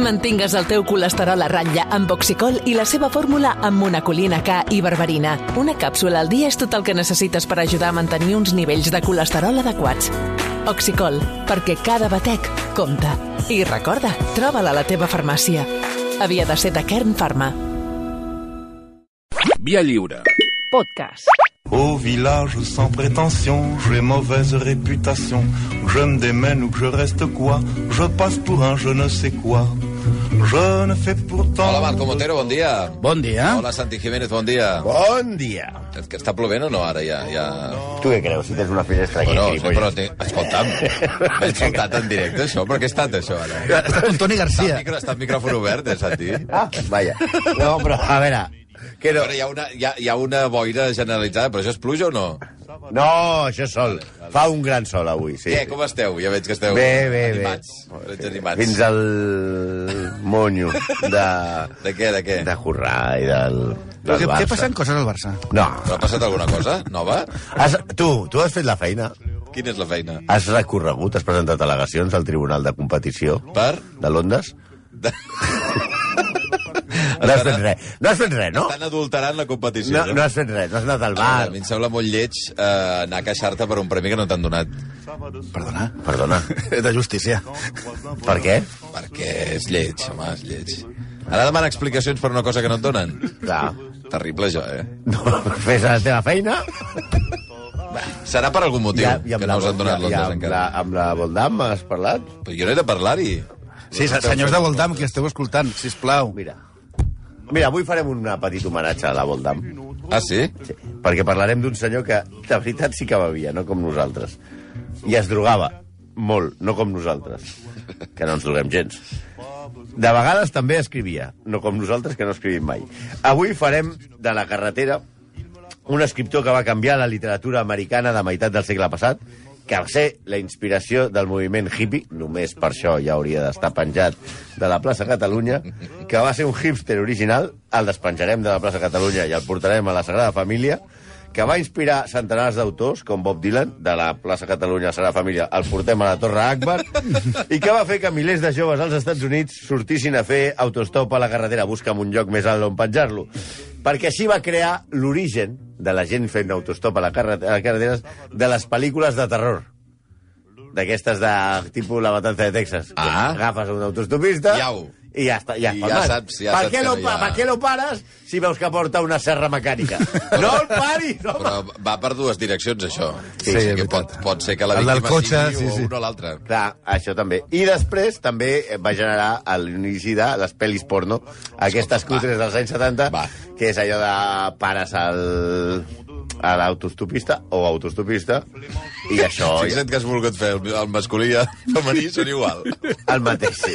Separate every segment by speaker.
Speaker 1: Mantingues el teu colesterol a ratlla amb Oxicol i la seva fórmula amb monacolina K i berberina. Una càpsula al dia és tot el que necessites per ajudar a mantenir uns nivells de colesterol adequats. Oxicol, perquè cada batec compta. I recorda, troba-la a la teva farmàcia. Havia de ser de Kern Pharma.
Speaker 2: Via lliure.
Speaker 3: Podcast.
Speaker 4: Au village sans prétention, j'ai mauvaise réputation. Que je me démène ou que je reste quoi, je passe pour un je ne sais quoi. Je ne fais pourtant...
Speaker 5: Hola, Marco Montero, bon dia.
Speaker 6: Bon dia.
Speaker 5: Hola, Santi Jiménez, bon dia.
Speaker 6: Bon dia.
Speaker 5: És que està plovent o no, ara, ja? ja...
Speaker 6: Tu què creus, si tens una finestra aquí?
Speaker 5: Bueno,
Speaker 6: gilipolles?
Speaker 5: sí, però té... escolta'm, m'he escoltat en directe, això, però què ha estat, això, ara?
Speaker 6: Estàs com Toni
Speaker 5: Està el,
Speaker 6: Garcia.
Speaker 5: micro, està el micròfon obert, eh, Santi?
Speaker 6: Ah, vaja. No, però, a veure... Que no,
Speaker 5: Però hi ha, una, hi, ha, hi ha una boira generalitzada, però això és pluja o no?
Speaker 6: no, això és sol. Fa un gran sol avui, sí.
Speaker 5: Què, com esteu? Ja veig que esteu
Speaker 6: Bé, bé, bé.
Speaker 5: animats. Veig animats.
Speaker 6: Fins al monyo de,
Speaker 5: De què, de què?
Speaker 6: de currar i del,
Speaker 7: Però
Speaker 6: del
Speaker 7: què,
Speaker 6: Barça.
Speaker 7: què passen coses al Barça?
Speaker 6: No.
Speaker 5: Però ha passat alguna cosa nova?
Speaker 6: Has, tu, tu has fet la feina.
Speaker 5: Quina és la feina?
Speaker 6: Has recorregut, has presentat al·legacions al Tribunal de Competició
Speaker 5: Per?
Speaker 6: de Londres.
Speaker 5: De...
Speaker 6: No has fet res. No has fet res, no?
Speaker 5: Estan adulterant la competició,
Speaker 6: No, no has fet res, no has anat al
Speaker 5: A mi
Speaker 6: bar.
Speaker 7: Ah,
Speaker 5: em sembla molt lleig eh, anar a queixar-te per un premi que no t'han donat.
Speaker 7: Perdona.
Speaker 6: Ah, Perdona,
Speaker 7: De justícia.
Speaker 6: per què?
Speaker 5: Perquè és lleig, home, és lleig. Ara demana explicacions per una cosa que no et donen.
Speaker 6: Clar.
Speaker 5: Terrible, això, eh?
Speaker 6: No, fes la teva feina.
Speaker 5: Serà per algun motiu que no us han donat
Speaker 6: ja,
Speaker 5: l'ondes
Speaker 6: amb, la,
Speaker 5: encara.
Speaker 6: amb la Voldam has parlat?
Speaker 5: Però jo no he de parlar-hi.
Speaker 7: Sí, se- senyors de Voldam, que esteu escoltant, si plau.
Speaker 6: Mira. Mira, avui farem un petit homenatge a la Voldam.
Speaker 5: Ah, sí?
Speaker 6: Sí, perquè parlarem d'un senyor que, de veritat, sí que bevia, no com nosaltres. I es drogava molt, no com nosaltres, que no ens droguem gens. De vegades també escrivia, no com nosaltres, que no escrivim mai. Avui farem de la carretera un escriptor que va canviar la literatura americana de meitat del segle passat, que va ser la inspiració del moviment hippie, només per això ja hauria d'estar penjat de la plaça Catalunya, que va ser un hipster original, el despenjarem de la plaça Catalunya i el portarem a la Sagrada Família, que va inspirar centenars d'autors, com Bob Dylan, de la plaça Catalunya a la Sagrada Família, el portem a la Torre Akbar, i que va fer que milers de joves als Estats Units sortissin a fer autostop a la carretera, busca'm un lloc més alt on penjar-lo. Perquè així va crear l'origen de la gent fent autostop a la carre- a les carreteres de les pel·lícules de terror. D'aquestes de tipus La Matanza de Texas.
Speaker 5: Ah.
Speaker 6: Agafes un autostopista...
Speaker 5: Iau.
Speaker 6: I ja està, ja,
Speaker 5: I
Speaker 6: has
Speaker 5: ja
Speaker 6: palmat.
Speaker 5: saps- ja
Speaker 6: per
Speaker 5: saps
Speaker 6: què
Speaker 5: que
Speaker 6: no,
Speaker 5: no hi
Speaker 6: pa-
Speaker 5: ha-
Speaker 6: Per què no pares si veus que porta una serra mecànica? no el paris, home!
Speaker 5: Però va per dues direccions, això.
Speaker 7: Sí,
Speaker 5: o sigui
Speaker 7: és
Speaker 5: que pot,
Speaker 7: veritat.
Speaker 5: pot ser que la
Speaker 7: El del
Speaker 5: víctima
Speaker 7: cotxe,
Speaker 5: sigui
Speaker 7: sí, sí.
Speaker 5: o una o l'altra.
Speaker 6: Clar, això també. I després també eh, va generar a l'inici de les pel·lis porno, aquestes
Speaker 5: Escolta, va.
Speaker 6: cutres dels anys 70,
Speaker 5: Va.
Speaker 6: que és allò de pares al a l'autostopista o autostopista i això ja,
Speaker 5: Fixa't que has volgut fer el, el masculí i el femení són igual.
Speaker 6: el mateix sí.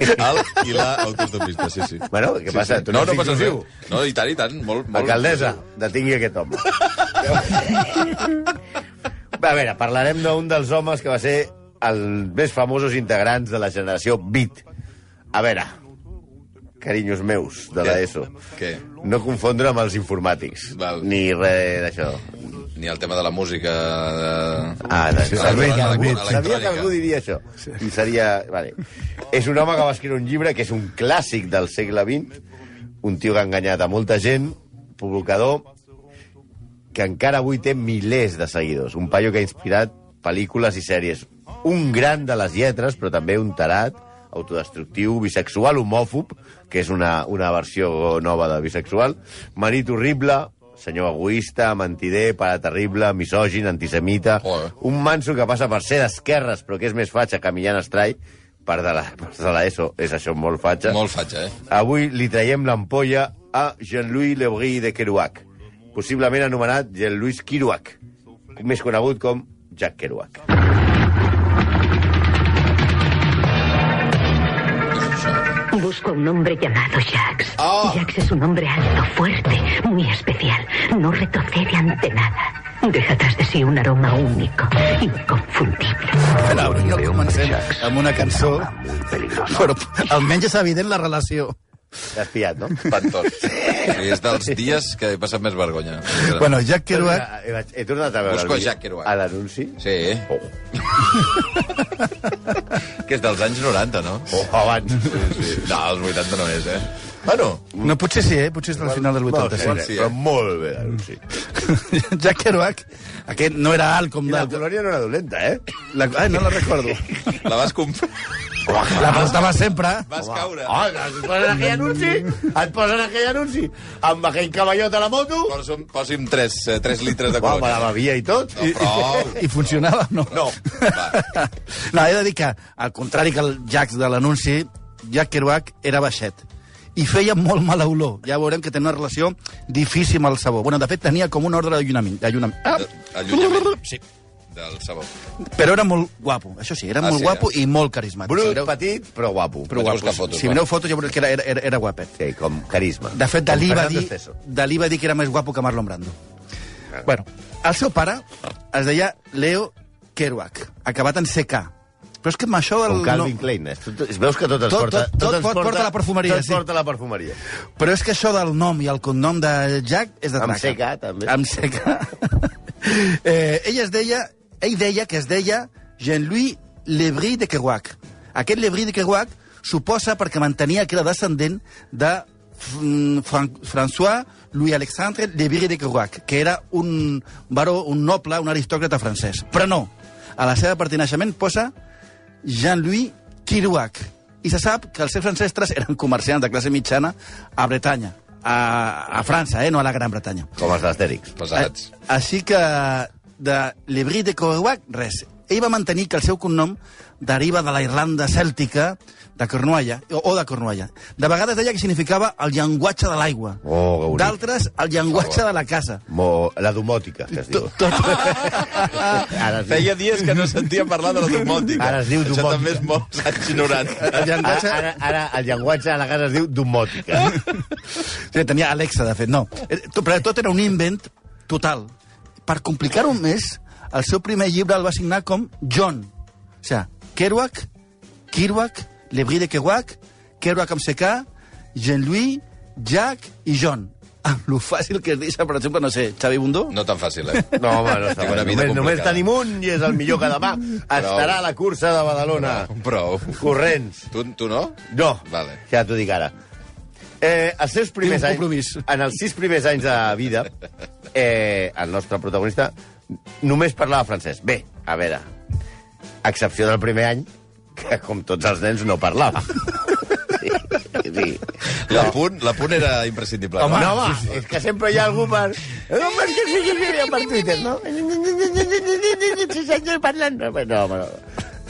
Speaker 5: El i la autostopista, sí, sí.
Speaker 6: bueno, què passa? Tu
Speaker 5: No, no
Speaker 6: ets
Speaker 5: passa
Speaker 6: inclusiu?
Speaker 5: res. No, i tant, i tant. Molt, molt
Speaker 6: Alcaldessa, detingui aquest home. Va, a veure, parlarem d'un dels homes que va ser els més famosos integrants de la generació Beat. A veure, carinyos meus de la
Speaker 5: Què?
Speaker 6: ESO,
Speaker 5: Què?
Speaker 6: no confondre amb els informàtics,
Speaker 5: Val.
Speaker 6: ni res d'això.
Speaker 5: Ni el tema de la música... De...
Speaker 6: Ah, de...
Speaker 5: Sí,
Speaker 6: sabia,
Speaker 5: sabia
Speaker 6: que algú,
Speaker 5: que algú-
Speaker 6: sabia que algú diria això. I seria... Vale. És un home que va escriure un llibre que és un clàssic del segle XX, un tio que ha enganyat a molta gent, provocador, que encara avui té milers de seguidors. Un paio que ha inspirat pel·lícules i sèries. Un gran de les lletres, però també un tarat, autodestructiu, bisexual, homòfob, que és una, una versió nova de bisexual, marit horrible, senyor egoista, mentider, pare terrible, misògin, antisemita...
Speaker 5: Joder.
Speaker 6: Un manso que passa per ser d'esquerres, però que és més fatxa que Millán Estrai, per de la, per de la ESO, és això molt fatxa.
Speaker 5: Molt fatxa, eh?
Speaker 6: Avui li traiem l'ampolla a Jean-Louis Lebris de Kerouac, possiblement anomenat Jean-Louis Kerouac, més conegut com Jack Kerouac.
Speaker 8: Busco a un hombre llamado Jax.
Speaker 5: Ah.
Speaker 8: Jax es un hombre alto, fuerte, muy especial. No retrocede ante nada. Deja atrás de sí un aroma único, inconfundible.
Speaker 7: Però no comencem amb una cançó, però almenys és evident la relació.
Speaker 6: T'has pillat, no?
Speaker 5: Espantós. Sí, és dels dies que he passat més vergonya.
Speaker 7: Bueno, Jack Kerouac...
Speaker 6: He, vaig- he tornat a Oh, veure
Speaker 5: Busco
Speaker 6: el vídeo-
Speaker 5: Jack Kerouac.
Speaker 6: a l'anunci.
Speaker 5: Sí.
Speaker 6: Oh.
Speaker 5: que és dels anys 90, no?
Speaker 6: O oh, abans.
Speaker 5: Sí. No, els 80 no és, eh? Bueno,
Speaker 7: No, potser sí, eh? Potser és del final dels
Speaker 6: Molt
Speaker 7: 80,
Speaker 6: bé,
Speaker 7: sí.
Speaker 5: sí, eh?
Speaker 6: però molt bé l'anunci.
Speaker 7: Jack Kerouac, eh? aquest no era alt com
Speaker 6: I la
Speaker 7: del...
Speaker 6: colònia no era dolenta, eh?
Speaker 7: La... Ai, no la recordo.
Speaker 5: la vas comprar...
Speaker 7: la portava sempre.
Speaker 5: Vas caure.
Speaker 6: Ah, et posen aquell anunci, et posen aquell anunci, amb aquell cavallot a la moto,
Speaker 5: Posa'm, posi'm 3, 3 litres de
Speaker 6: va, me
Speaker 5: colònia.
Speaker 6: la bevia i tot.
Speaker 5: No, prou.
Speaker 7: I funcionava, no?
Speaker 5: No, va.
Speaker 7: No, he de dir que, al contrari que el Jack de l'anunci, Jack Kerouac era baixet i feia molt mala olor. Ja veurem que té una relació difícil amb el sabó. Bueno, de fet, tenia com un ordre d'allunament. d'allunament.
Speaker 6: Ah.
Speaker 5: Allunyament.
Speaker 7: Sí.
Speaker 5: Del sabó.
Speaker 7: Però era molt guapo, això sí, era
Speaker 5: Ah,
Speaker 7: molt
Speaker 5: sí,
Speaker 7: guapo
Speaker 5: eh?
Speaker 7: i molt carismàtic.
Speaker 6: Brut,
Speaker 7: era...
Speaker 6: petit, però guapo.
Speaker 5: Però guapo. buscar fotos,
Speaker 7: si
Speaker 5: va.
Speaker 7: mireu fotos, ja veureu que era, era, era, era guapet.
Speaker 6: Sí, com carisma.
Speaker 7: De fet, Dalí
Speaker 6: Com
Speaker 7: va,
Speaker 6: Fernando
Speaker 7: dir,
Speaker 6: Esteso.
Speaker 7: Dalí va dir que era més guapo que Marlon Brando. Bueno, el seu pare es deia Leo Kerouac, acabat en CK. Però és que amb això... El,
Speaker 6: Com Calvin Klein. eh? Tot, veus que tot ens
Speaker 7: Tot-
Speaker 6: porta...
Speaker 7: tot- tot
Speaker 6: ens
Speaker 7: porta la perfumeria,
Speaker 6: Tot
Speaker 7: sí.
Speaker 6: porta la perfumeria.
Speaker 7: Però és que això del nom i el cognom de Jack és de
Speaker 6: Amb
Speaker 7: traca.
Speaker 6: seca, també.
Speaker 7: Amb seca. eh, ell es deia, ell deia que es deia Jean-Louis Lebris de Kerouac. Aquest Lebris de Kerouac suposa perquè mantenia que era descendent de Fran- Fran François Louis Alexandre Lebris de Kerouac, que era un baró, un noble, un aristòcrata francès. Però no, a la seva part de naixement posa Jean-Louis Kerouac. I se sap que els seus ancestres eren comerciants de classe mitjana a Bretanya, a, a França, eh? no a la Gran Bretanya.
Speaker 6: Com els d'Astèrix.
Speaker 5: Pesats.
Speaker 7: A- Així que de l'Hebrí de Kerouac, res. Ell va mantenir que el seu cognom deriva de la Irlanda cèltica de Cornualla, o, o de Cornualla. De vegades deia que significava el llenguatge de l'aigua.
Speaker 6: Oh, que bonic.
Speaker 7: D'altres, el llenguatge de la casa.
Speaker 6: Mo, la domòtica, que es diu.
Speaker 7: Tot,
Speaker 6: Ara es diu,
Speaker 5: Feia dies que no sentia parlar de la domòtica.
Speaker 6: Ara es diu
Speaker 5: Això
Speaker 6: domòtica.
Speaker 5: també és molts anys 90.
Speaker 7: el llenguatge...
Speaker 6: ara, ara, ara el llenguatge a la casa es diu domòtica.
Speaker 7: Sí, tenia Alexa, de fet, no. Eh, to- Però tot era un invent total. Per complicar-ho més, el seu primer llibre el va signar com John. O sigui, Kerouac, Kerouac, Lebri de Kerouac, Kerouac amb CK, Jean-Louis, Jack i John. Amb lo fàcil que es deixa, per exemple, no sé, Xavi Bundó?
Speaker 5: No tan fàcil, eh?
Speaker 6: No, home, no està
Speaker 5: Tinc una
Speaker 6: bé.
Speaker 5: vida
Speaker 6: Només, només
Speaker 5: complicada.
Speaker 6: tenim un i és el millor que demà estarà a la cursa de Badalona.
Speaker 5: Prou.
Speaker 6: Corrents.
Speaker 5: Tu, tu no?
Speaker 6: No,
Speaker 5: Vale.
Speaker 6: ja t'ho dic ara. Eh, els seus primers
Speaker 7: Tinc un
Speaker 6: anys,
Speaker 7: compromís.
Speaker 6: en els sis primers anys de vida, eh, el nostre protagonista només parlava francès. Bé, a veure, a excepció del primer any, que com tots els nens no parlava. Sí, sí.
Speaker 5: La punt, la punt era imprescindible.
Speaker 6: Home,
Speaker 5: no?
Speaker 6: no, home, sí, sí. és que sempre hi ha algú per... No, per què sí que hi ha per Twitter, no? Sí, senyor, parlant... No, home, no, no.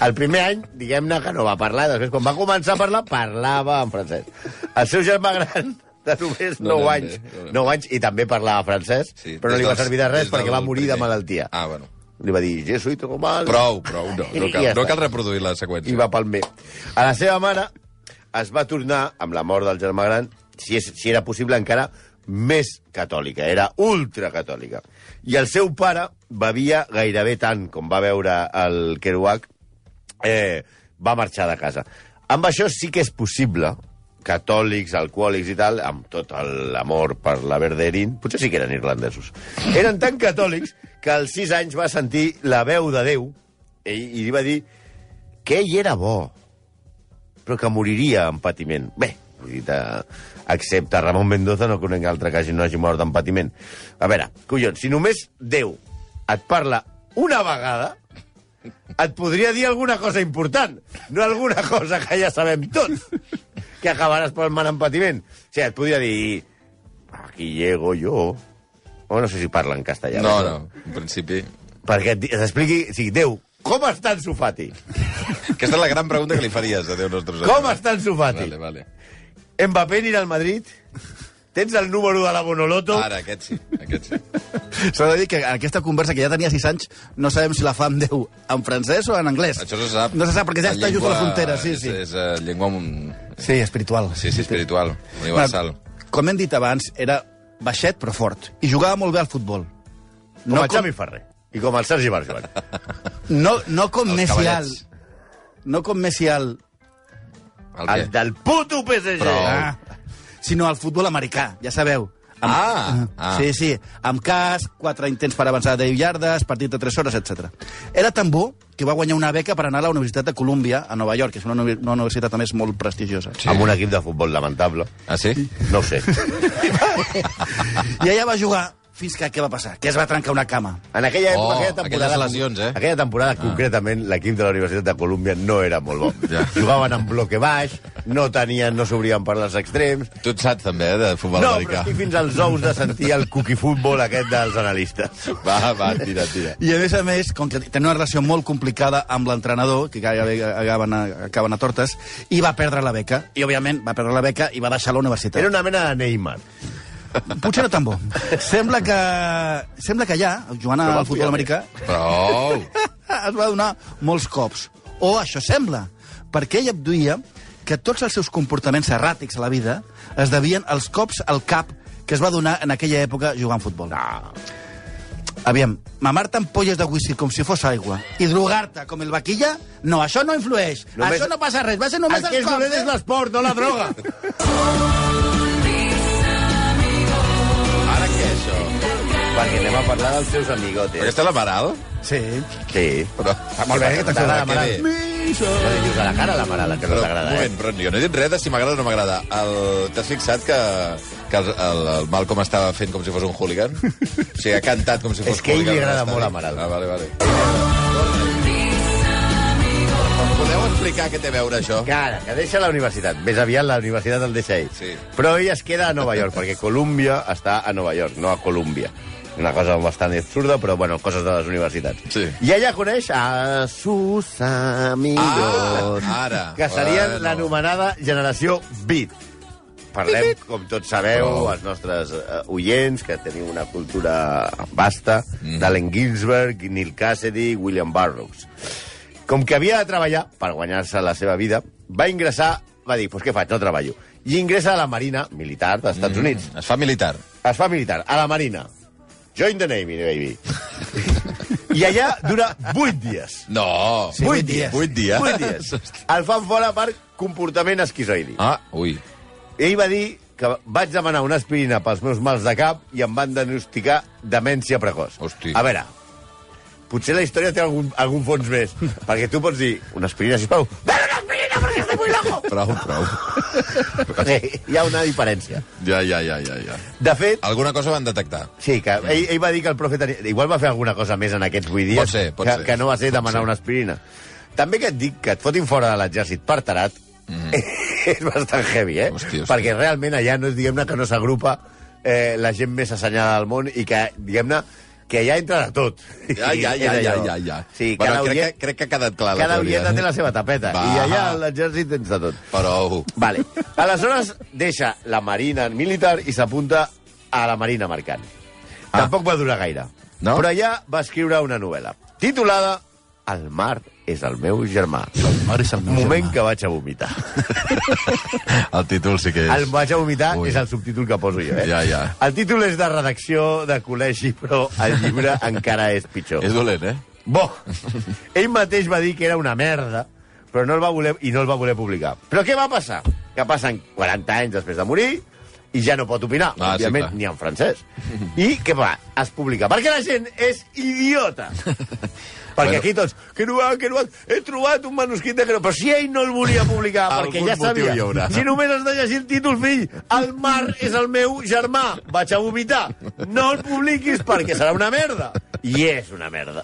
Speaker 6: El primer any, diguem-ne que no va parlar, després quan va començar a parlar, parlava en francès. El seu germà gran, de només
Speaker 5: No, no,
Speaker 6: 9
Speaker 5: no,
Speaker 6: anys,
Speaker 5: no, no.
Speaker 6: 9 anys, i també parlava francès,
Speaker 5: Sí,
Speaker 6: però no
Speaker 5: des
Speaker 6: li va
Speaker 5: dels-
Speaker 6: servir de
Speaker 5: des
Speaker 6: res perquè
Speaker 5: del
Speaker 6: va morir de
Speaker 5: primer.
Speaker 6: malaltia.
Speaker 5: Ah, bueno.
Speaker 6: Li va dir, jo soy todo mal.
Speaker 5: Prou, prou, no. No
Speaker 6: I
Speaker 5: cal,
Speaker 6: ja
Speaker 5: no
Speaker 6: està.
Speaker 5: cal reproduir la
Speaker 6: i
Speaker 5: seqüència.
Speaker 6: va pel bé. A la seva mare es va tornar, amb la mort del germà gran, si, és, si era possible encara, més catòlica, era ultracatòlica. I el seu pare bevia gairebé tant com va veure el Kerouac, eh, va marxar de casa. Amb això sí que és possible catòlics, alcohòlics i tal, amb tot el- l'amor per la Verderin, potser sí que eren irlandesos. Eren tan catòlics que als sis anys va sentir la veu de Déu i, i li va dir que ell era bo, però que moriria en patiment. Bé, vull dir, de, excepte Ramon Mendoza, no conec altre que hagi, no hagi mort en patiment. A veure, collons, si només Déu et parla una vegada, et podria dir alguna cosa important, no alguna cosa que ja sabem tots, que acabaràs pel mal en patiment. O sigui, et podria dir, aquí llego jo, o no sé si parla en castellà.
Speaker 5: No,
Speaker 6: però-
Speaker 5: no, en principi...
Speaker 6: Perquè et di- t'expliqui, o sigui, Déu, com està en Sufati?
Speaker 5: Aquesta és la gran pregunta que li faries a Déu nostre Senyor.
Speaker 6: Com està en Sufati?
Speaker 5: Vale, vale.
Speaker 6: Mbappé anirà al Madrid? Tens el número de la Bonoloto?
Speaker 5: Ara, aquest sí, aquest sí.
Speaker 7: S'ha de dir que aquesta conversa que ja tenia 6 anys no sabem si la fa amb Déu en francès o en anglès.
Speaker 5: Això se sap.
Speaker 7: No se sap, perquè ja
Speaker 5: La
Speaker 7: està just a
Speaker 5: llengua
Speaker 7: la frontera. Sí, sí.
Speaker 5: És, és eh, llengua... un-
Speaker 7: Sí, espiritual.
Speaker 5: Sí, sí, espiritual, universal.
Speaker 7: Bueno, com hem dit abans, era baixet però fort. I jugava molt bé al futbol.
Speaker 6: Com el Xavi Ferrer. I com el Sergi Barjoan.
Speaker 7: no, no com
Speaker 5: Els
Speaker 7: Messi alt.
Speaker 5: cavallets.
Speaker 7: No com Messi alt,
Speaker 5: El
Speaker 6: El
Speaker 5: què?
Speaker 6: del puto PSG.
Speaker 5: Però-
Speaker 6: Ah,
Speaker 7: ah, sinó al futbol americà, ja sabeu.
Speaker 5: Ah, ah.
Speaker 7: Sí, sí, amb casc, quatre intents per avançar de 10 iardes, partit de 3 hores, etc. Era tan bo que va guanyar una beca per anar a la Universitat de Colúmbia, a Nova York, que és una, uni- una universitat, a més, molt prestigiosa.
Speaker 6: Amb un equip de futbol lamentable.
Speaker 5: Ah, sí?
Speaker 6: No ho sé.
Speaker 7: I allà va jugar fins que què va passar? Que es va trencar una cama.
Speaker 6: En aquella època,
Speaker 5: Oh,
Speaker 6: aquella temporada...
Speaker 5: aquelles lesions, eh?
Speaker 6: Aquella temporada, concretament, l'equip de la Universitat de Colúmbia no era molt bo.
Speaker 5: Ja.
Speaker 6: Jugaven en bloque baix, no tenien, no s'obrien per les extrems...
Speaker 5: Tu et saps, també, eh, de futbol
Speaker 6: No, però
Speaker 5: americà.
Speaker 6: estic fins als ous de sentir el cookie futbol aquest dels analistes.
Speaker 5: Va, va, tira, tira.
Speaker 7: I a més a més, com que tenia una relació molt complicada amb l'entrenador, que gairebé acaben a, acaben a tortes, i va perdre la beca. I, òbviament, va perdre la beca i va deixar la universitat.
Speaker 6: Era una mena de Neymar.
Speaker 7: Potser no tan bo. Sembla que, sembla que allà, jugant
Speaker 6: Però va
Speaker 7: al futbol
Speaker 6: follar
Speaker 7: americà,
Speaker 5: Prou!
Speaker 7: es va donar molts cops. O això sembla, perquè ell abduïa que tots els seus comportaments erràtics a la vida es devien als cops al cap que es va donar en aquella època jugant a futbol. No. Aviam, mamar-te ampolles de whisky com si fos aigua i drogar-te com el vaquilla, no, això no influeix.
Speaker 6: Només-
Speaker 7: Només... Això no passa res, va ser només
Speaker 6: El que
Speaker 7: els
Speaker 6: és
Speaker 7: cops.
Speaker 6: dolent és l'esport, no la droga.
Speaker 5: Ara què, això?
Speaker 6: Perquè anem a parlar dels seus amigotes.
Speaker 5: Aquesta és la Maral?
Speaker 7: Sí.
Speaker 6: Sí.
Speaker 5: Però...
Speaker 6: Ah, molt bé, que t'agrada,
Speaker 5: Que
Speaker 6: Maral.
Speaker 5: bé.
Speaker 6: No li dius a la cara a la Marala, que no
Speaker 5: Però, un
Speaker 6: t'agrada, eh?
Speaker 5: moment, però jo no he dit res de si m'agrada o no m'agrada. El... T'has fixat que, que el, el, el Malcolm estava fent com si fos un hooligan? O sigui, ha cantat com si fos
Speaker 6: És que a ell li
Speaker 5: hooligan en
Speaker 6: agrada
Speaker 5: l'estadi.
Speaker 6: molt a Maral.
Speaker 5: Ah, vale, vale. Podeu explicar què té a veure això?
Speaker 6: Que ara, que deixa la universitat. Més aviat la universitat el deixa ell.
Speaker 5: Sí.
Speaker 6: Però ell es queda a Nova York, perquè Colúmbia està a Nova York, no a Colúmbia. Una cosa bastant absurda, però, bueno, coses de les universitats.
Speaker 5: Sí.
Speaker 6: I ella coneix a sus amigos,
Speaker 5: Ah, ara.
Speaker 6: que serien
Speaker 5: Bueno.
Speaker 6: l'anomenada generació beat. Parlem, com tots sabeu,
Speaker 5: Prou.
Speaker 6: els nostres eh, oients, que teniu una cultura vasta, mm. d'Allen Ginsberg, Neil Cassidy, William Burroughs. Com que havia de treballar per guanyar-se la seva vida, va ingressar, va dir, pues què faig, no treballo. I ingressa a la Marina Militar dels Estats mm. Units.
Speaker 5: Es fa militar.
Speaker 6: Es fa militar, a la Marina. Join the Navy, baby. I allà dura vuit dies.
Speaker 5: No!
Speaker 7: Sí, vuit dies.
Speaker 5: Vuit dies.
Speaker 6: Vuit dies. El fan fora per comportament esquizoidi.
Speaker 5: Ah, ui.
Speaker 6: Ell va dir que vaig demanar una aspirina pels meus mals de cap i em van diagnosticar demència precoç.
Speaker 5: Hosti.
Speaker 6: A veure, potser la història té algun, algun fons més, perquè tu pots dir una aspirina, sisplau, ¡Dale una aspirina perquè estoy muy loco!
Speaker 5: Prou, prou.
Speaker 6: Sí, hi ha una diferència.
Speaker 5: Ja, ja, ja, ja, ja.
Speaker 6: De fet,
Speaker 5: Alguna cosa van detectar.
Speaker 6: sí, que ell, ell va dir que el profe tenia... Igual va fer alguna cosa més en aquests vuit dies
Speaker 5: Pot ser, pot
Speaker 6: que,
Speaker 5: ser.
Speaker 6: que no va ser
Speaker 5: Pot
Speaker 6: demanar
Speaker 5: ser.
Speaker 6: una aspirina. També que et dic que et fotin fora de l'exèrcit per tarat mm. és bastant heavy, eh?
Speaker 5: Hosti, hosti.
Speaker 6: Perquè realment allà no és, diguem-ne, que no s'agrupa eh, la gent més assenyada del món i que, diguem-ne, que allà entra de tot.
Speaker 5: Ja, ja, ja, ja, ja, ja.
Speaker 6: Sí,
Speaker 5: bueno,
Speaker 6: cada
Speaker 5: crec,
Speaker 6: oient,
Speaker 5: que, crec que ha quedat clar la
Speaker 6: cada
Speaker 5: teoria.
Speaker 6: oient té la seva tapeta.
Speaker 5: Va.
Speaker 6: I allà a l'exèrcit tens de tot.
Speaker 5: Però...
Speaker 6: Vale. Aleshores, deixa la Marina militar i s'apunta a la Marina mercant.
Speaker 5: Ah.
Speaker 6: Ah. Tampoc va durar gaire.
Speaker 5: No?
Speaker 6: Però allà va escriure una novel·la titulada El mar és el meu germà.
Speaker 7: Ara és el meu
Speaker 6: Moment
Speaker 7: germà.
Speaker 6: que vaig a vomitar.
Speaker 5: El títol sí que és...
Speaker 6: El vaig a vomitar
Speaker 5: Ui.
Speaker 6: Ui. és el subtítol que poso jo, eh?
Speaker 5: Ja, ja.
Speaker 6: El títol és de redacció de col·legi, però el llibre encara és pitjor.
Speaker 5: És dolent, eh?
Speaker 6: Bo! Ell mateix va dir que era una merda, però no el va voler, i no el va voler publicar. Però què va passar? Que passen 40 anys després de morir i ja no pot opinar,
Speaker 5: Ah,
Speaker 6: ah,
Speaker 5: sí,
Speaker 6: òbviament,
Speaker 5: clar.
Speaker 6: sí, ni en francès. I què va? Es publica. Perquè la gent és idiota.
Speaker 5: Bueno.
Speaker 6: perquè aquí tots... Que no, va, que no, va, he trobat un manuscrit de... que no-". Però si ell no el volia publicar, perquè
Speaker 5: Algun
Speaker 6: ja
Speaker 5: motiu
Speaker 6: sabia...
Speaker 5: hi haurà.
Speaker 6: Si només has de llegir el títol, fill, el mar és el meu germà, vaig a vomitar. No el publiquis perquè serà una merda. I és una merda.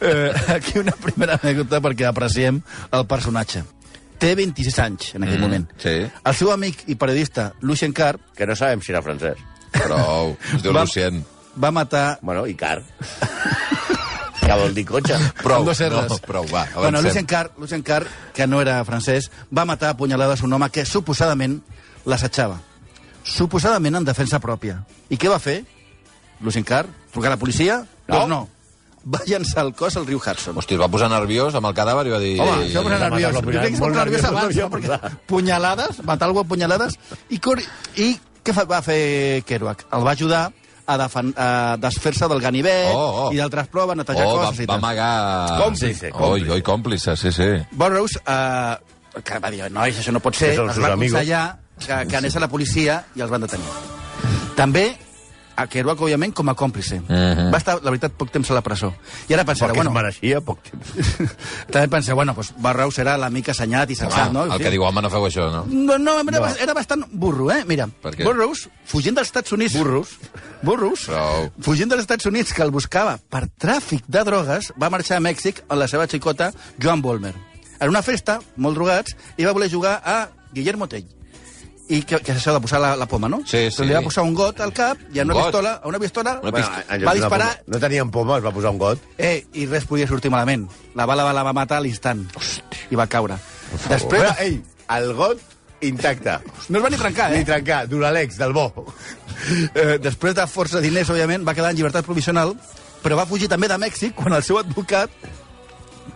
Speaker 7: Eh, aquí una primera anècdota perquè apreciem el personatge. Té 26 anys en aquell mm, moment.
Speaker 5: sí.
Speaker 7: El seu amic i periodista, Lucien Carr,
Speaker 6: Que no sabem si era francès.
Speaker 5: Prou. Es diu
Speaker 7: Va-
Speaker 5: Lucien.
Speaker 7: va matar...
Speaker 6: Bueno, i car. que vol dir cotxe.
Speaker 5: Prou,
Speaker 7: amb dos R's.
Speaker 5: no, prou, va, avancem.
Speaker 7: Bueno, Lucien Carr, Lucien Carr, que no era francès, va matar a punyalades un home que suposadament l'assetjava. Suposadament en defensa pròpia. I què va fer? Lucien Carr? Trucar a la policia?
Speaker 6: No.
Speaker 7: Doncs no. Va llançar el cos al riu Hudson.
Speaker 5: Hosti, es va posar nerviós amb el cadàver i va dir...
Speaker 7: Home, això em posa
Speaker 6: la
Speaker 7: nerviós.
Speaker 6: matar-lo
Speaker 7: Jo crec que es
Speaker 6: primer.
Speaker 7: posa
Speaker 6: Molt
Speaker 7: nerviós
Speaker 6: nerviós,
Speaker 7: abans, no?
Speaker 6: nerviós,
Speaker 7: Perquè punyalades, matar algú a punyalades... I, cor... I què fa, va fer Kerouac? El va ajudar a, defen... a desfer-se del ganivet
Speaker 5: Oh, oh.
Speaker 7: i d'altres proves, netejar
Speaker 5: Oh, va,
Speaker 7: coses i
Speaker 5: va
Speaker 7: tal.
Speaker 5: amagar...
Speaker 6: Còmplice,
Speaker 5: Oi,
Speaker 6: còmplice.
Speaker 5: oi, còmplice, sí, sí.
Speaker 7: Burroughs, eh, que va dir, nois, això no pot ser,
Speaker 6: Que són
Speaker 7: els
Speaker 6: sus
Speaker 7: va
Speaker 6: amigos.
Speaker 7: aconsellar que, que anés a la policia i els van detenir. També a Kerouac, òbviament, com a còmplice.
Speaker 5: Mhm.
Speaker 7: Va estar, la veritat, poc temps a la presó. I ara pensarà,
Speaker 6: Perquè bueno.
Speaker 7: bueno...
Speaker 6: es mereixia poc temps.
Speaker 7: també pensarà, bueno, doncs Barrau serà l'amic assenyat i
Speaker 5: Home,
Speaker 7: sensat, no?
Speaker 5: el que diu home no feu això, no?
Speaker 7: No, no, era, no. era bastant burro, eh? Mira,
Speaker 5: Per què?
Speaker 7: Burroughs, fugint dels Estats Units... Burros. Burros.
Speaker 5: Prou.
Speaker 7: Fugint dels Estats Units, que el buscava per tràfic de drogues, va marxar a Mèxic amb la seva xicota Joan Bolmer. En una festa, molt drogats, i va voler jugar a Guillermo Tell. I que, que és això de posar la, la poma, no?
Speaker 5: Sí,
Speaker 7: Però li
Speaker 5: sí.
Speaker 7: va posar un got al cap i
Speaker 5: Un
Speaker 7: amb una
Speaker 5: got?
Speaker 7: pistola, a una pistola
Speaker 5: Una
Speaker 7: bueno,
Speaker 5: pistola.
Speaker 6: en lloc
Speaker 7: va
Speaker 6: d'una
Speaker 7: disparar
Speaker 6: poma- No tenien poma, es va posar un got.
Speaker 7: eh, i res podia sortir malament. La bala la va matar a l'instant i va caure. Després,
Speaker 6: Però, ei, el got intacte.
Speaker 7: no es va ni trencar, eh?
Speaker 6: Ni trencar, d'Uralex, del bo.
Speaker 7: Eh, després de força diners, òbviament, va quedar en llibertat provisional, però va fugir també de Mèxic quan el seu advocat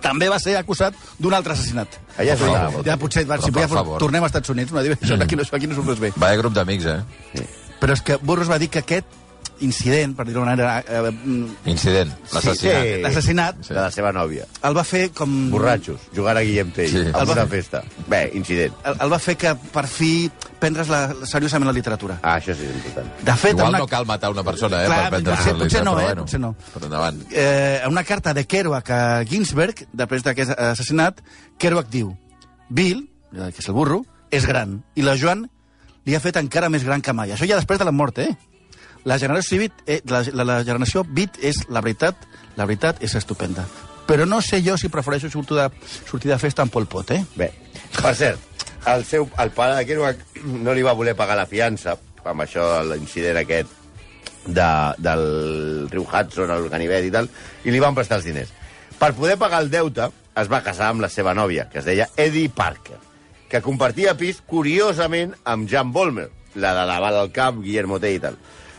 Speaker 7: també va ser acusat d'un altre assassinat.
Speaker 6: Allà és
Speaker 5: favor.
Speaker 6: una...
Speaker 7: Ja potser, va,
Speaker 5: Però
Speaker 7: si
Speaker 5: per
Speaker 7: podia,
Speaker 5: favor. Mm.
Speaker 7: tornem als Estats Units, no, dir, això, aquí, no, això aquí no surt res bé.
Speaker 5: Vaya grup d'amics, eh?
Speaker 7: Però és que Burros va dir que aquest incident, per dir-ho d'una manera, eh, mm,
Speaker 5: Incident, l'assassinat.
Speaker 6: Sí.
Speaker 7: l'assassinat,
Speaker 6: De la seva nòvia.
Speaker 7: el va fer com...
Speaker 6: Borratxos, jugant a Guillem Tell,
Speaker 5: Sí.
Speaker 6: sí. a una festa. Bé, incident.
Speaker 7: El, el va fer que, per fi, prendre's la, seriosament la literatura.
Speaker 6: Ah, això sí que és important.
Speaker 7: De fet, en
Speaker 5: Igual
Speaker 7: una...
Speaker 5: no cal matar una persona, eh?
Speaker 7: Clar,
Speaker 5: per prendre
Speaker 7: potser-
Speaker 5: el
Speaker 7: potser no,
Speaker 5: però
Speaker 7: eh,
Speaker 5: Bueno,
Speaker 7: potser no.
Speaker 5: Però endavant.
Speaker 7: eh, en una carta de Kerouac a Ginsberg, després d'aquest assassinat, Kerouac diu Bill, eh, que és el burro, és gran, i la Joan li ha fet encara més gran que mai. Això ja després de la mort, eh? La generació Bit, eh, la, la, la generació Bit és la veritat, la veritat és estupenda. Però no sé jo si prefereixo sortir de, sortir de festa amb Pol Pot, eh?
Speaker 6: Bé, per cert, el, seu, el pare de Kerouac no li va voler pagar la fiança amb això, l'incident aquest de, del riu Hudson, el ganivet i tal, i li van prestar els diners. Per poder pagar el deute, es va casar amb la seva nòvia, que es deia Eddie Parker, que compartia pis, curiosament, amb Jan Bolmer, la de la bala al cap, Guillermo Tell i tal.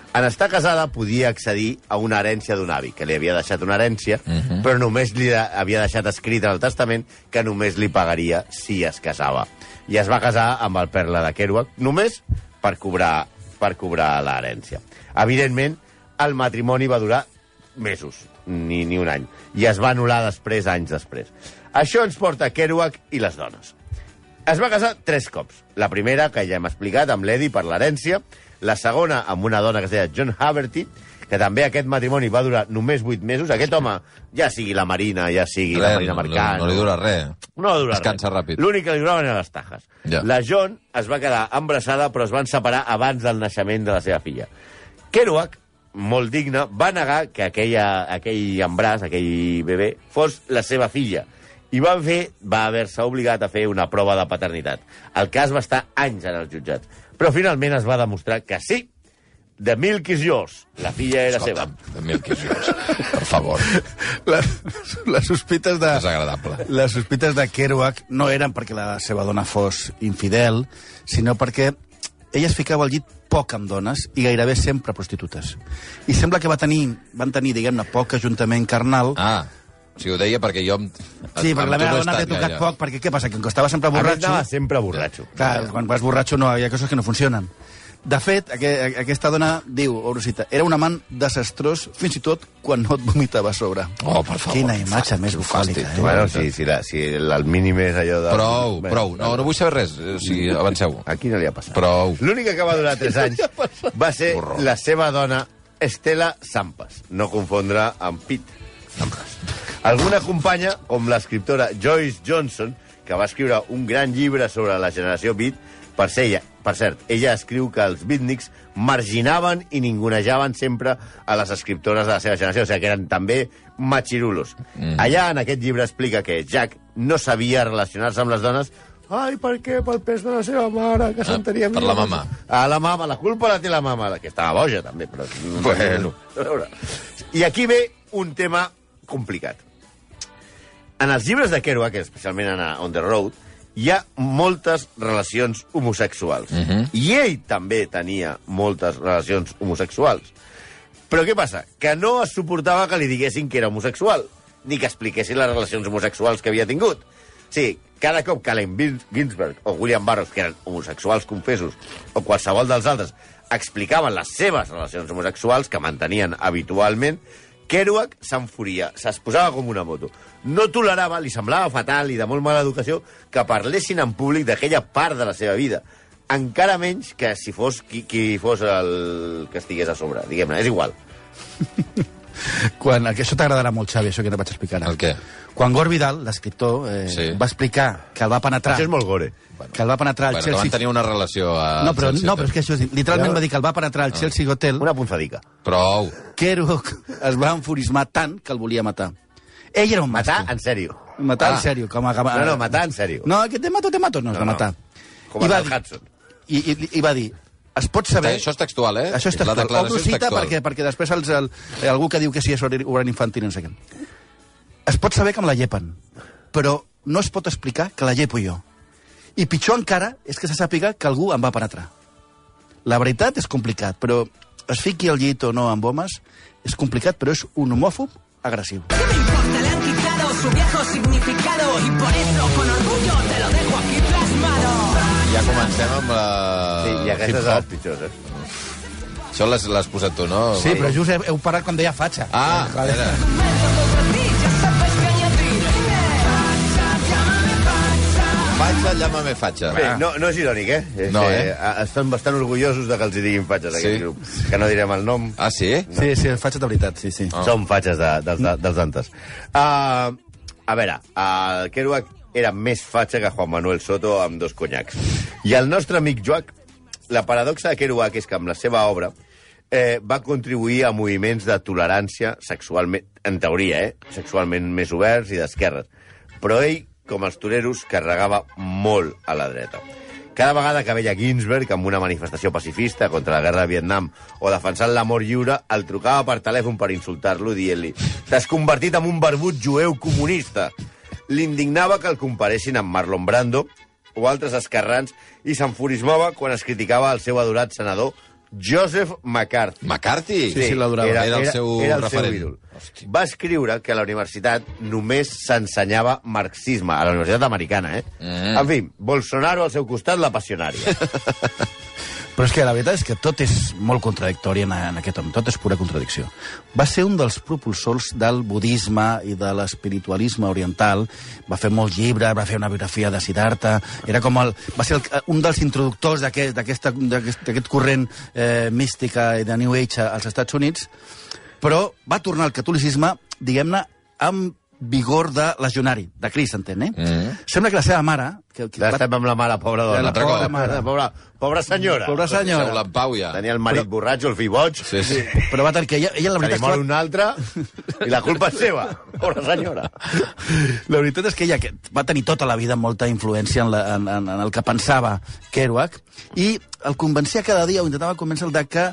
Speaker 6: En estar casada podia accedir a una herència d'un avi, que li havia deixat una herència, uh -huh. però només li de- havia deixat escrit en el testament que només li pagaria si es casava. I es va casar amb el Perla de Kerouac, només per cobrar per cobrar l'herència. Evidentment, el matrimoni va durar mesos, ni, ni un any, i es va anul·lar després, anys després. Això ens porta a Kerouac i les dones. Es va casar tres cops. La primera, que ja hem explicat, amb l'Eddie per l'herència. La segona, amb una dona que es deia John Haverty, que també aquest matrimoni va durar només vuit mesos. Aquest home, ja sigui la Marina, ja sigui la
Speaker 5: Res,
Speaker 6: Marina
Speaker 5: no,
Speaker 6: Mercant...
Speaker 5: no, no li dura res.
Speaker 6: No dura
Speaker 5: Es cansa
Speaker 6: res.
Speaker 5: ràpid.
Speaker 6: L'únic que li duraven eren les tajes.
Speaker 5: Ja.
Speaker 6: La John es va quedar embarassada, però es van separar abans del naixement de la seva filla. Kerouac, molt digne, va negar que aquella, aquell embràs, aquell bebè, fos la seva filla. I van fer, va haver-se obligat a fer una prova de paternitat. El cas va estar anys en els jutjats. Però finalment es va demostrar que sí, de Milk is yours. La filla era
Speaker 5: Escolta'm,
Speaker 6: seva.
Speaker 5: de mil quilos. Per favor,
Speaker 7: La, les sospites de...
Speaker 5: desagradable.
Speaker 7: Les sospites de Kerouac no eren perquè la seva dona fos infidel, sinó perquè ella es ficava al llit poc amb dones i gairebé sempre prostitutes. I sembla que va tenir, van tenir, diguem-ne, poc ajuntament carnal.
Speaker 5: Ah, si ho deia perquè jo... Amb,
Speaker 7: sí,
Speaker 5: amb
Speaker 7: perquè la
Speaker 5: tu no
Speaker 7: meva
Speaker 5: he
Speaker 7: dona
Speaker 5: estat
Speaker 7: t'he tocat
Speaker 5: gaire.
Speaker 7: poc, perquè què passa, que quan estava sempre
Speaker 6: A més,
Speaker 7: borratxo...
Speaker 6: anava sempre borratxo.
Speaker 7: Clar, quan vas borratxo no, hi ha coses que no funcionen. De fet, aqu aquesta dona diu, Orosita, era un amant desastrós fins i tot quan no et vomitava a sobre.
Speaker 5: Oh, per favor.
Speaker 7: Quina imatge més
Speaker 5: Fàstic,
Speaker 7: bufàlica, eh?
Speaker 5: tu.
Speaker 6: Bueno, si, si, la, si el mínim és allò de...
Speaker 5: Prou,
Speaker 6: Bé,
Speaker 5: prou. No, no vull saber res. eh, O sigui, avanceu.
Speaker 6: Aquí no li ha passat.
Speaker 5: Prou.
Speaker 6: L'única que va durar 3 anys va ser
Speaker 5: Horror.
Speaker 6: la seva dona, Estela Sampas. No confondre amb Pete Sampas. Alguna companya, com l'escriptora Joyce Johnson, que va escriure un gran llibre sobre la generació Beat, per, ser ella, per cert, ella escriu que els beatniks marginaven i ningunejaven sempre a les escriptores de la seva generació, o sigui que eren també machirulos. Mm. Allà, en aquest llibre, explica que Jack no sabia relacionar-se amb les dones Ai, per què? Pel pes de la seva mare, que s'entenia...
Speaker 5: Ah, per
Speaker 6: millor.
Speaker 5: la mama.
Speaker 6: A la mama, la culpa la té la mama, la que estava boja, també, però... no
Speaker 5: Bueno.
Speaker 6: a veure. I aquí ve un tema complicat. En els llibres de Kerouac, especialment en uh, On the Road, hi ha moltes relacions homosexuals. I ell també tenia moltes relacions homosexuals. Però què passa? Que no es suportava que li diguessin que era homosexual, ni que expliquessin les relacions homosexuals que havia tingut. Sí, cada cop que Allen Gins- Ginsberg o William Burroughs, que eren homosexuals confessos, o qualsevol dels altres, explicaven les seves relacions homosexuals que mantenien habitualment, Kerouac s'enfuria, s'exposava com una moto. No tolerava, li semblava fatal i de molt mala educació que parlessin en públic d'aquella part de la seva vida. encara menys que si fos qui, qui fos el que estigués a sobre, diguem-ne, és igual.
Speaker 7: Quan, el que això t'agradarà molt, Xavi, això que no vaig explicar. ara.
Speaker 5: El què?
Speaker 7: Quan Gore Vidal, l'escriptor, eh, sí.
Speaker 5: Sí.
Speaker 7: va explicar que el va penetrar...
Speaker 6: Això és molt gore.
Speaker 7: Que el va penetrar al
Speaker 5: Bueno, que
Speaker 7: Chelsea...
Speaker 5: van tenir una relació a...
Speaker 7: No, però, no, però és que això és... Literalment va dir que el va penetrar al Chelsea Hotel.
Speaker 6: Una punzadica.
Speaker 5: Prou.
Speaker 7: Kerouac es va enfurismar tant que el volia matar. Ell era un
Speaker 6: Matar,
Speaker 7: matar.
Speaker 6: en sèrio.
Speaker 7: Matar,
Speaker 6: Ah.
Speaker 7: en sèrio. Com a...
Speaker 6: No, no, matar, en sèrio.
Speaker 7: No, que te mato, te mato, no, no,
Speaker 6: No,
Speaker 7: no.
Speaker 6: no.
Speaker 7: matar.
Speaker 6: Com
Speaker 7: I
Speaker 6: el
Speaker 7: va
Speaker 6: del
Speaker 7: dir-
Speaker 6: Hudson.
Speaker 7: I, i, I va dir, es pot saber...
Speaker 5: Això és textual, eh?
Speaker 7: Això és
Speaker 5: La
Speaker 7: textual.
Speaker 5: declaració
Speaker 7: Obro
Speaker 5: és
Speaker 7: cita
Speaker 5: textual.
Speaker 7: perquè, perquè després els, el, eh, algú que diu que sí és obran infantil, no sé què. Es pot saber que me la llepen, però no es pot explicar que la llepo jo. I pitjor encara és que se sàpiga que algú em va penetrar. La veritat és complicat, però es fiqui al llit o no amb homes és complicat, pero és un homòfob agressiu.
Speaker 2: ¿Qué me importa? Le han quitado su viejo significado y por eso con orgullo te lo dejo aquí plasmado.
Speaker 5: Ja comencem amb la...
Speaker 6: Sí, I
Speaker 5: Ah,
Speaker 6: aquestes són les pitjors, eh?
Speaker 5: Això l'has l'has posat tu, no?
Speaker 7: Sí, però just heu, heu parat quan deia fatxa.
Speaker 5: Ah, espera. Fatxa, llámame fatxa.
Speaker 6: Bé, no, no és irònic, eh? És
Speaker 5: No,
Speaker 6: que,
Speaker 5: eh?
Speaker 6: a- Estan bastant orgullosos de que els hi diguin fatxes, aquest
Speaker 5: Sí.
Speaker 6: grup. Que no direm el nom.
Speaker 5: Ah, sí?
Speaker 7: Sí, sí, fatxa de veritat, sí, sí.
Speaker 6: Oh. Són fatxes de, dels, de, dels antes. Uh, a veure, el Kerouac era més fatxa que Juan Manuel Soto amb dos conyacs. I el nostre amic Joac, la paradoxa de Kerouac és que amb la seva obra eh, va contribuir a moviments de tolerància sexualment, en teoria, eh? sexualment més oberts i d'esquerres. Però ell, com els toreros, carregava molt a la dreta. Cada vegada que veia Ginsberg amb una manifestació pacifista contra la guerra de Vietnam o defensant l'amor lliure, el trucava per telèfon per insultar-lo dient-li «T'has convertit en un barbut jueu comunista!» L'indignava que el comparessin amb Marlon Brando o altres esquerrans i s'enfurismava quan es criticava el seu adorat senador Joseph McCarthy.
Speaker 5: McCarthy?
Speaker 7: sí, l'adorava.
Speaker 5: Era el seu
Speaker 6: era el
Speaker 5: referent.
Speaker 6: Seu ídol.
Speaker 5: Hosti.
Speaker 6: Va escriure que a la universitat només s'ensenyava marxisme, a la universitat americana, eh?
Speaker 5: Mm.
Speaker 6: En fi, Bolsonaro al seu costat, la passionària.
Speaker 7: Però és que la veritat és que tot és molt contradictori en, en aquest home, tot és pura contradicció. Va ser un dels propulsors del budisme i de l'espiritualisme oriental, va fer molts llibres, va fer una biografia de Siddhartha, era com el, va ser el, un dels introductors d'aquest d'aquesta- d'aquest d'aquest corrent eh, mística i de New Age als Estats Units, però va tornar al catolicisme, diguem-ne, amb vigor de legionari, de Crist, s'entén, eh? Mm. Sembla que la seva mare... Que, que
Speaker 6: Ja estem amb la mare, pobra dona.
Speaker 7: La pobra
Speaker 6: mare.
Speaker 7: mare.
Speaker 6: La pobra, pobra senyora.
Speaker 7: Pobra
Speaker 5: Deixeu-la
Speaker 7: senyora.
Speaker 5: en pau, ja.
Speaker 6: Tenia el marit borratxo, el fill boig.
Speaker 5: Sí, sí.
Speaker 7: Però va tant que ella, ella la
Speaker 6: Se
Speaker 7: veritat
Speaker 6: li
Speaker 7: és que va-
Speaker 6: mor un altre i la culpa és seva. Pobra senyora.
Speaker 7: La veritat és que ella que va tenir tota la vida molta influència en, la, en, en, en el que pensava Kerouac i el convencia cada dia, o intentava convèncer-el de que,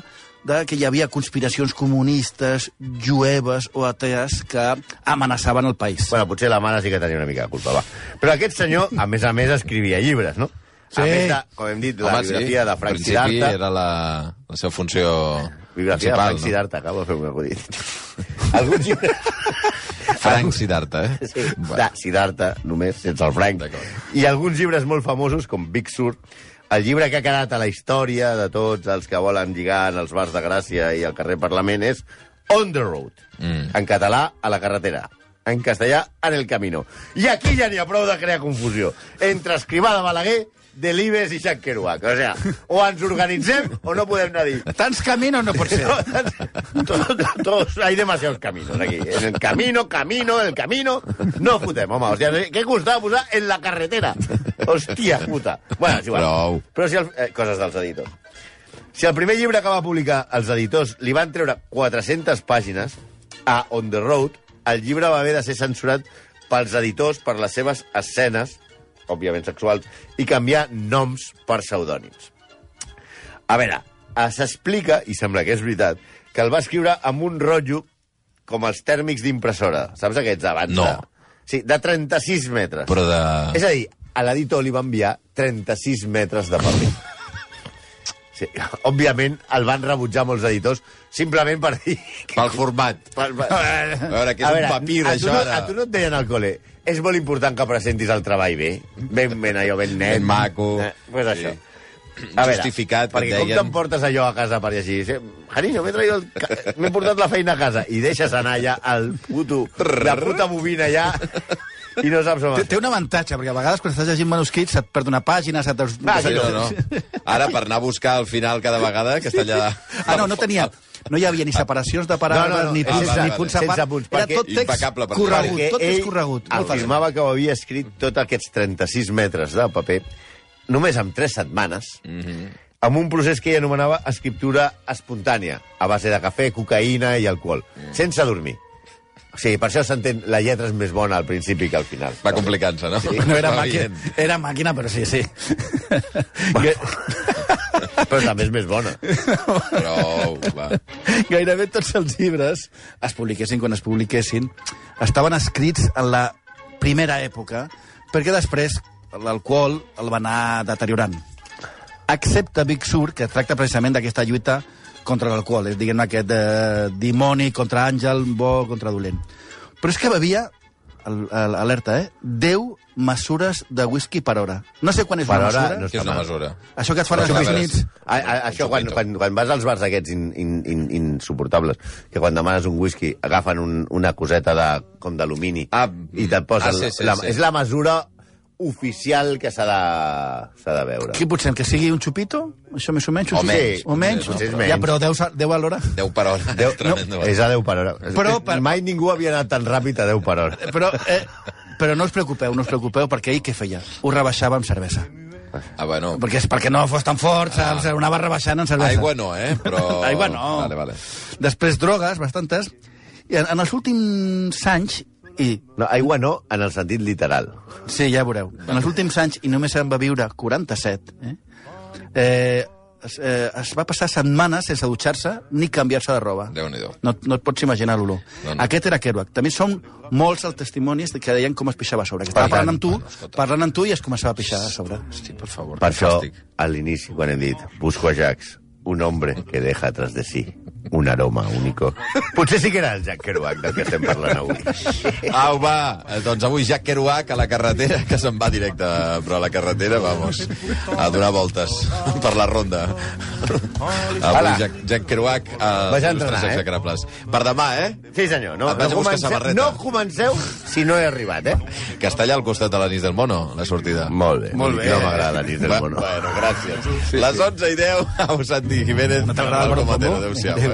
Speaker 7: de que hi havia conspiracions comunistes, jueves o atees que amenaçaven el país.
Speaker 6: Bueno, potser la mare sí que tenia una mica de culpa, va. Però aquest senyor, a més a més, escrivia llibres, no?
Speaker 7: Sí.
Speaker 6: A més de, com hem dit, la
Speaker 5: Home,
Speaker 6: biografia de
Speaker 5: Al
Speaker 6: Frank
Speaker 5: principi
Speaker 6: Siddhartha.
Speaker 5: era la, la seva funció
Speaker 6: Biografia de
Speaker 5: principal,
Speaker 6: Frank
Speaker 5: no?
Speaker 6: Siddhartha, acabo de fer un acudit. Alguns llibres...
Speaker 5: Frank Siddhartha, eh?
Speaker 6: Sí,
Speaker 5: Va.
Speaker 6: de Siddhartha, només, sense el Frank.
Speaker 5: D'acord.
Speaker 6: I alguns llibres molt famosos, com Big Sur, el llibre que ha quedat a la història de tots els que volen lligar en els bars de Gràcia i al carrer Parlament és On the Road. Mm. En català, a la carretera. En castellà, en el camino. I aquí ja n'hi ha prou de crear confusió. Entre Escrivà de Balaguer, Delibes i Jacques Kerouac. O sigui, o ens organitzem o no podem anar a dir
Speaker 7: Tants caminos no pot ser.
Speaker 6: todos, todos- hay demasiados caminos aquí. En el camino, camino, el camino. No fotem, home. Hòstia, què costava posar en la carretera? Hòstia puta. Bueno, és igual.
Speaker 5: Prou.
Speaker 6: Però si el, eh, coses dels editors. Si el primer llibre que va publicar els editors li van treure 400 pàgines a On the Road, el llibre va haver de ser censurat pels editors per les seves escenes, òbviament sexuals, i canviar noms per pseudònims. A veure, eh, s'explica, i sembla que és veritat, que el va escriure amb un rotllo com els tèrmics d'impressora. Saps aquests abans?
Speaker 5: No.
Speaker 6: De... Sí, de 36 metres.
Speaker 5: Però de...
Speaker 6: És a dir, a l'editor li va enviar 36 metres de paper. Sí, òbviament el van rebutjar molts editors simplement per dir...
Speaker 5: Pel format.
Speaker 6: Per, per...
Speaker 5: A veure, que és un papir,
Speaker 6: a
Speaker 5: això,
Speaker 6: tu no,
Speaker 5: ara.
Speaker 6: A tu no et deien al col·le és molt important que presentis el treball bé, ben, ben allò, ben net.
Speaker 5: Ben maco.
Speaker 6: Eh, pues
Speaker 5: Sí.
Speaker 6: això.
Speaker 5: Justificat,
Speaker 6: perquè
Speaker 5: et deien.
Speaker 6: com t'emportes allò a casa per llegir? Sí, Jariño, m'he traído el... ca- M'he portat la feina a casa. I deixes anar allà el puto... La puta bobina allà I no saps on
Speaker 7: Té, té un avantatge, perquè a vegades quan estàs llegint manuscrits se't perd una pàgina, se't...
Speaker 6: Va, aquí
Speaker 5: Allò, no? Ara, per anar a buscar al final cada vegada, que està allà...
Speaker 7: Ah, no, no tenia... No hi havia ni separacions de paraules,
Speaker 6: No, no, no,
Speaker 7: ni punts,
Speaker 6: sense-
Speaker 7: ni punts a
Speaker 6: sense
Speaker 7: part.
Speaker 6: punts,
Speaker 7: Era
Speaker 6: perquè-
Speaker 7: tot text
Speaker 5: impecable, per
Speaker 7: corregut,
Speaker 6: Perquè
Speaker 7: tot text
Speaker 6: ell
Speaker 7: corregut. Molt fàcil.
Speaker 6: afirmava que ho havia escrit tots aquests 36 metres de paper només en 3 setmanes, mm -hmm. amb un procés que ell anomenava escriptura espontània, a base de cafè, cocaïna i alcohol, mm. sense dormir. O sigui, per això s'entén, la lletra és més bona al principi que al final.
Speaker 5: Va complicant-se, no? Sí,
Speaker 7: No era màquina, era màquina, però sí, sí.
Speaker 6: Que... Però també és més bona.
Speaker 5: Prou, va.
Speaker 7: Gairebé tots els llibres, es publiquessin quan es publiquessin, estaven escrits en la primera època, perquè després l'alcohol el va anar deteriorant. Excepte Big Sur, que tracta precisament d'aquesta lluita contra l'alcohol, és diguem aquest eh, dimoni contra àngel, bo contra dolent. Però és que bevia, al- al- alerta, eh? 10 mesures de whisky per hora. No sé quan és
Speaker 6: Per
Speaker 7: una
Speaker 6: hora
Speaker 7: mesura.
Speaker 6: no
Speaker 5: Que és una mesura.
Speaker 7: Això que et fan als
Speaker 5: Però, a
Speaker 7: Estats
Speaker 5: veure,
Speaker 7: Units...
Speaker 6: A, a, això, quan, quan, quan vas als bars aquests in, in, in, insuportables, que quan demanes un whisky agafen un, una coseta de, com d'alumini
Speaker 5: Ah,
Speaker 6: i te'n posen...
Speaker 5: ah, sí, sí,
Speaker 6: la,
Speaker 5: sí.
Speaker 6: És la mesura oficial que s'ha de, s'ha de veure.
Speaker 7: Què potser, que sigui un xupito? Això més o menys? un
Speaker 5: O
Speaker 7: xupito?
Speaker 5: menys.
Speaker 7: O menys?
Speaker 6: Potser és
Speaker 7: Ja,
Speaker 6: menys.
Speaker 7: però 10, a- 10 a l'hora?
Speaker 5: 10 per hora.
Speaker 6: Deu,
Speaker 5: Tremendo.
Speaker 6: no, és a 10 per hora. Eh,
Speaker 7: Però per-
Speaker 6: Mai ningú havia anat tan ràpid a 10 per hora.
Speaker 7: Però, eh, però no us preocupeu, no us preocupeu, perquè ell què feia? Ho rebaixava amb cervesa.
Speaker 5: Ah, bueno.
Speaker 7: Perquè, és perquè no fos tan fort, saps?
Speaker 6: Ah.
Speaker 7: Ho anava rebaixant amb cervesa.
Speaker 5: Aigua no, eh? Però...
Speaker 7: Aigua no.
Speaker 5: Vale, vale.
Speaker 7: Després drogues, bastantes. I en, en els últims anys, i
Speaker 6: No, aigua no, en el sentit literal.
Speaker 7: Sí, ja ho veureu. En els últims anys, i només en va viure 47, eh? Eh, es, eh, es va passar setmanes sense dutxar-se ni canviar-se de roba.
Speaker 5: Déu-n'hi-do.
Speaker 7: No, no et pots imaginar l'olor.
Speaker 5: No,
Speaker 7: No,
Speaker 5: no.
Speaker 7: no. Aquest era Kerouac. També són molts els testimonis que deien com es pixava a sobre. Que estava
Speaker 6: Per tant,
Speaker 7: parlant amb tu,
Speaker 5: bueno, escolta.
Speaker 7: parlant amb tu i es començava a pixar a sobre.
Speaker 5: Hosti, per favor.
Speaker 6: Per això,
Speaker 5: fàstic.
Speaker 6: a l'inici, quan hem dit Busco a Jax, un hombre que deja tras de sí un aroma único. Potser sí que era el Jack Kerouac del que estem parlant avui.
Speaker 5: Au, va. Eh, Doncs avui Jack Kerouac a la carretera, que se'n va directe, però a la carretera, vamos, a donar voltes per la ronda. Avui
Speaker 6: Hola.
Speaker 5: Jack, Jack Kerouac a
Speaker 6: Vaig
Speaker 5: Nostres
Speaker 6: a entrenar, eh?
Speaker 5: Execrables. Per demà, eh?
Speaker 6: Sí, senyor. No,
Speaker 5: Et vaig a
Speaker 6: no,
Speaker 5: buscar
Speaker 6: comenceu,
Speaker 5: samarreta.
Speaker 6: no comenceu si no he arribat, eh?
Speaker 5: Que està allà al costat de l'Anís del Mono, la sortida.
Speaker 6: Molt bé.
Speaker 7: Molt bé.
Speaker 6: No m'agrada ni del
Speaker 5: Va-
Speaker 6: mono.
Speaker 5: Bueno, gràcies. Les 11 i 10, au, Santi Jiménez. No
Speaker 7: t'agrada, però,
Speaker 5: Adéu-siau,
Speaker 7: com no?
Speaker 5: eh?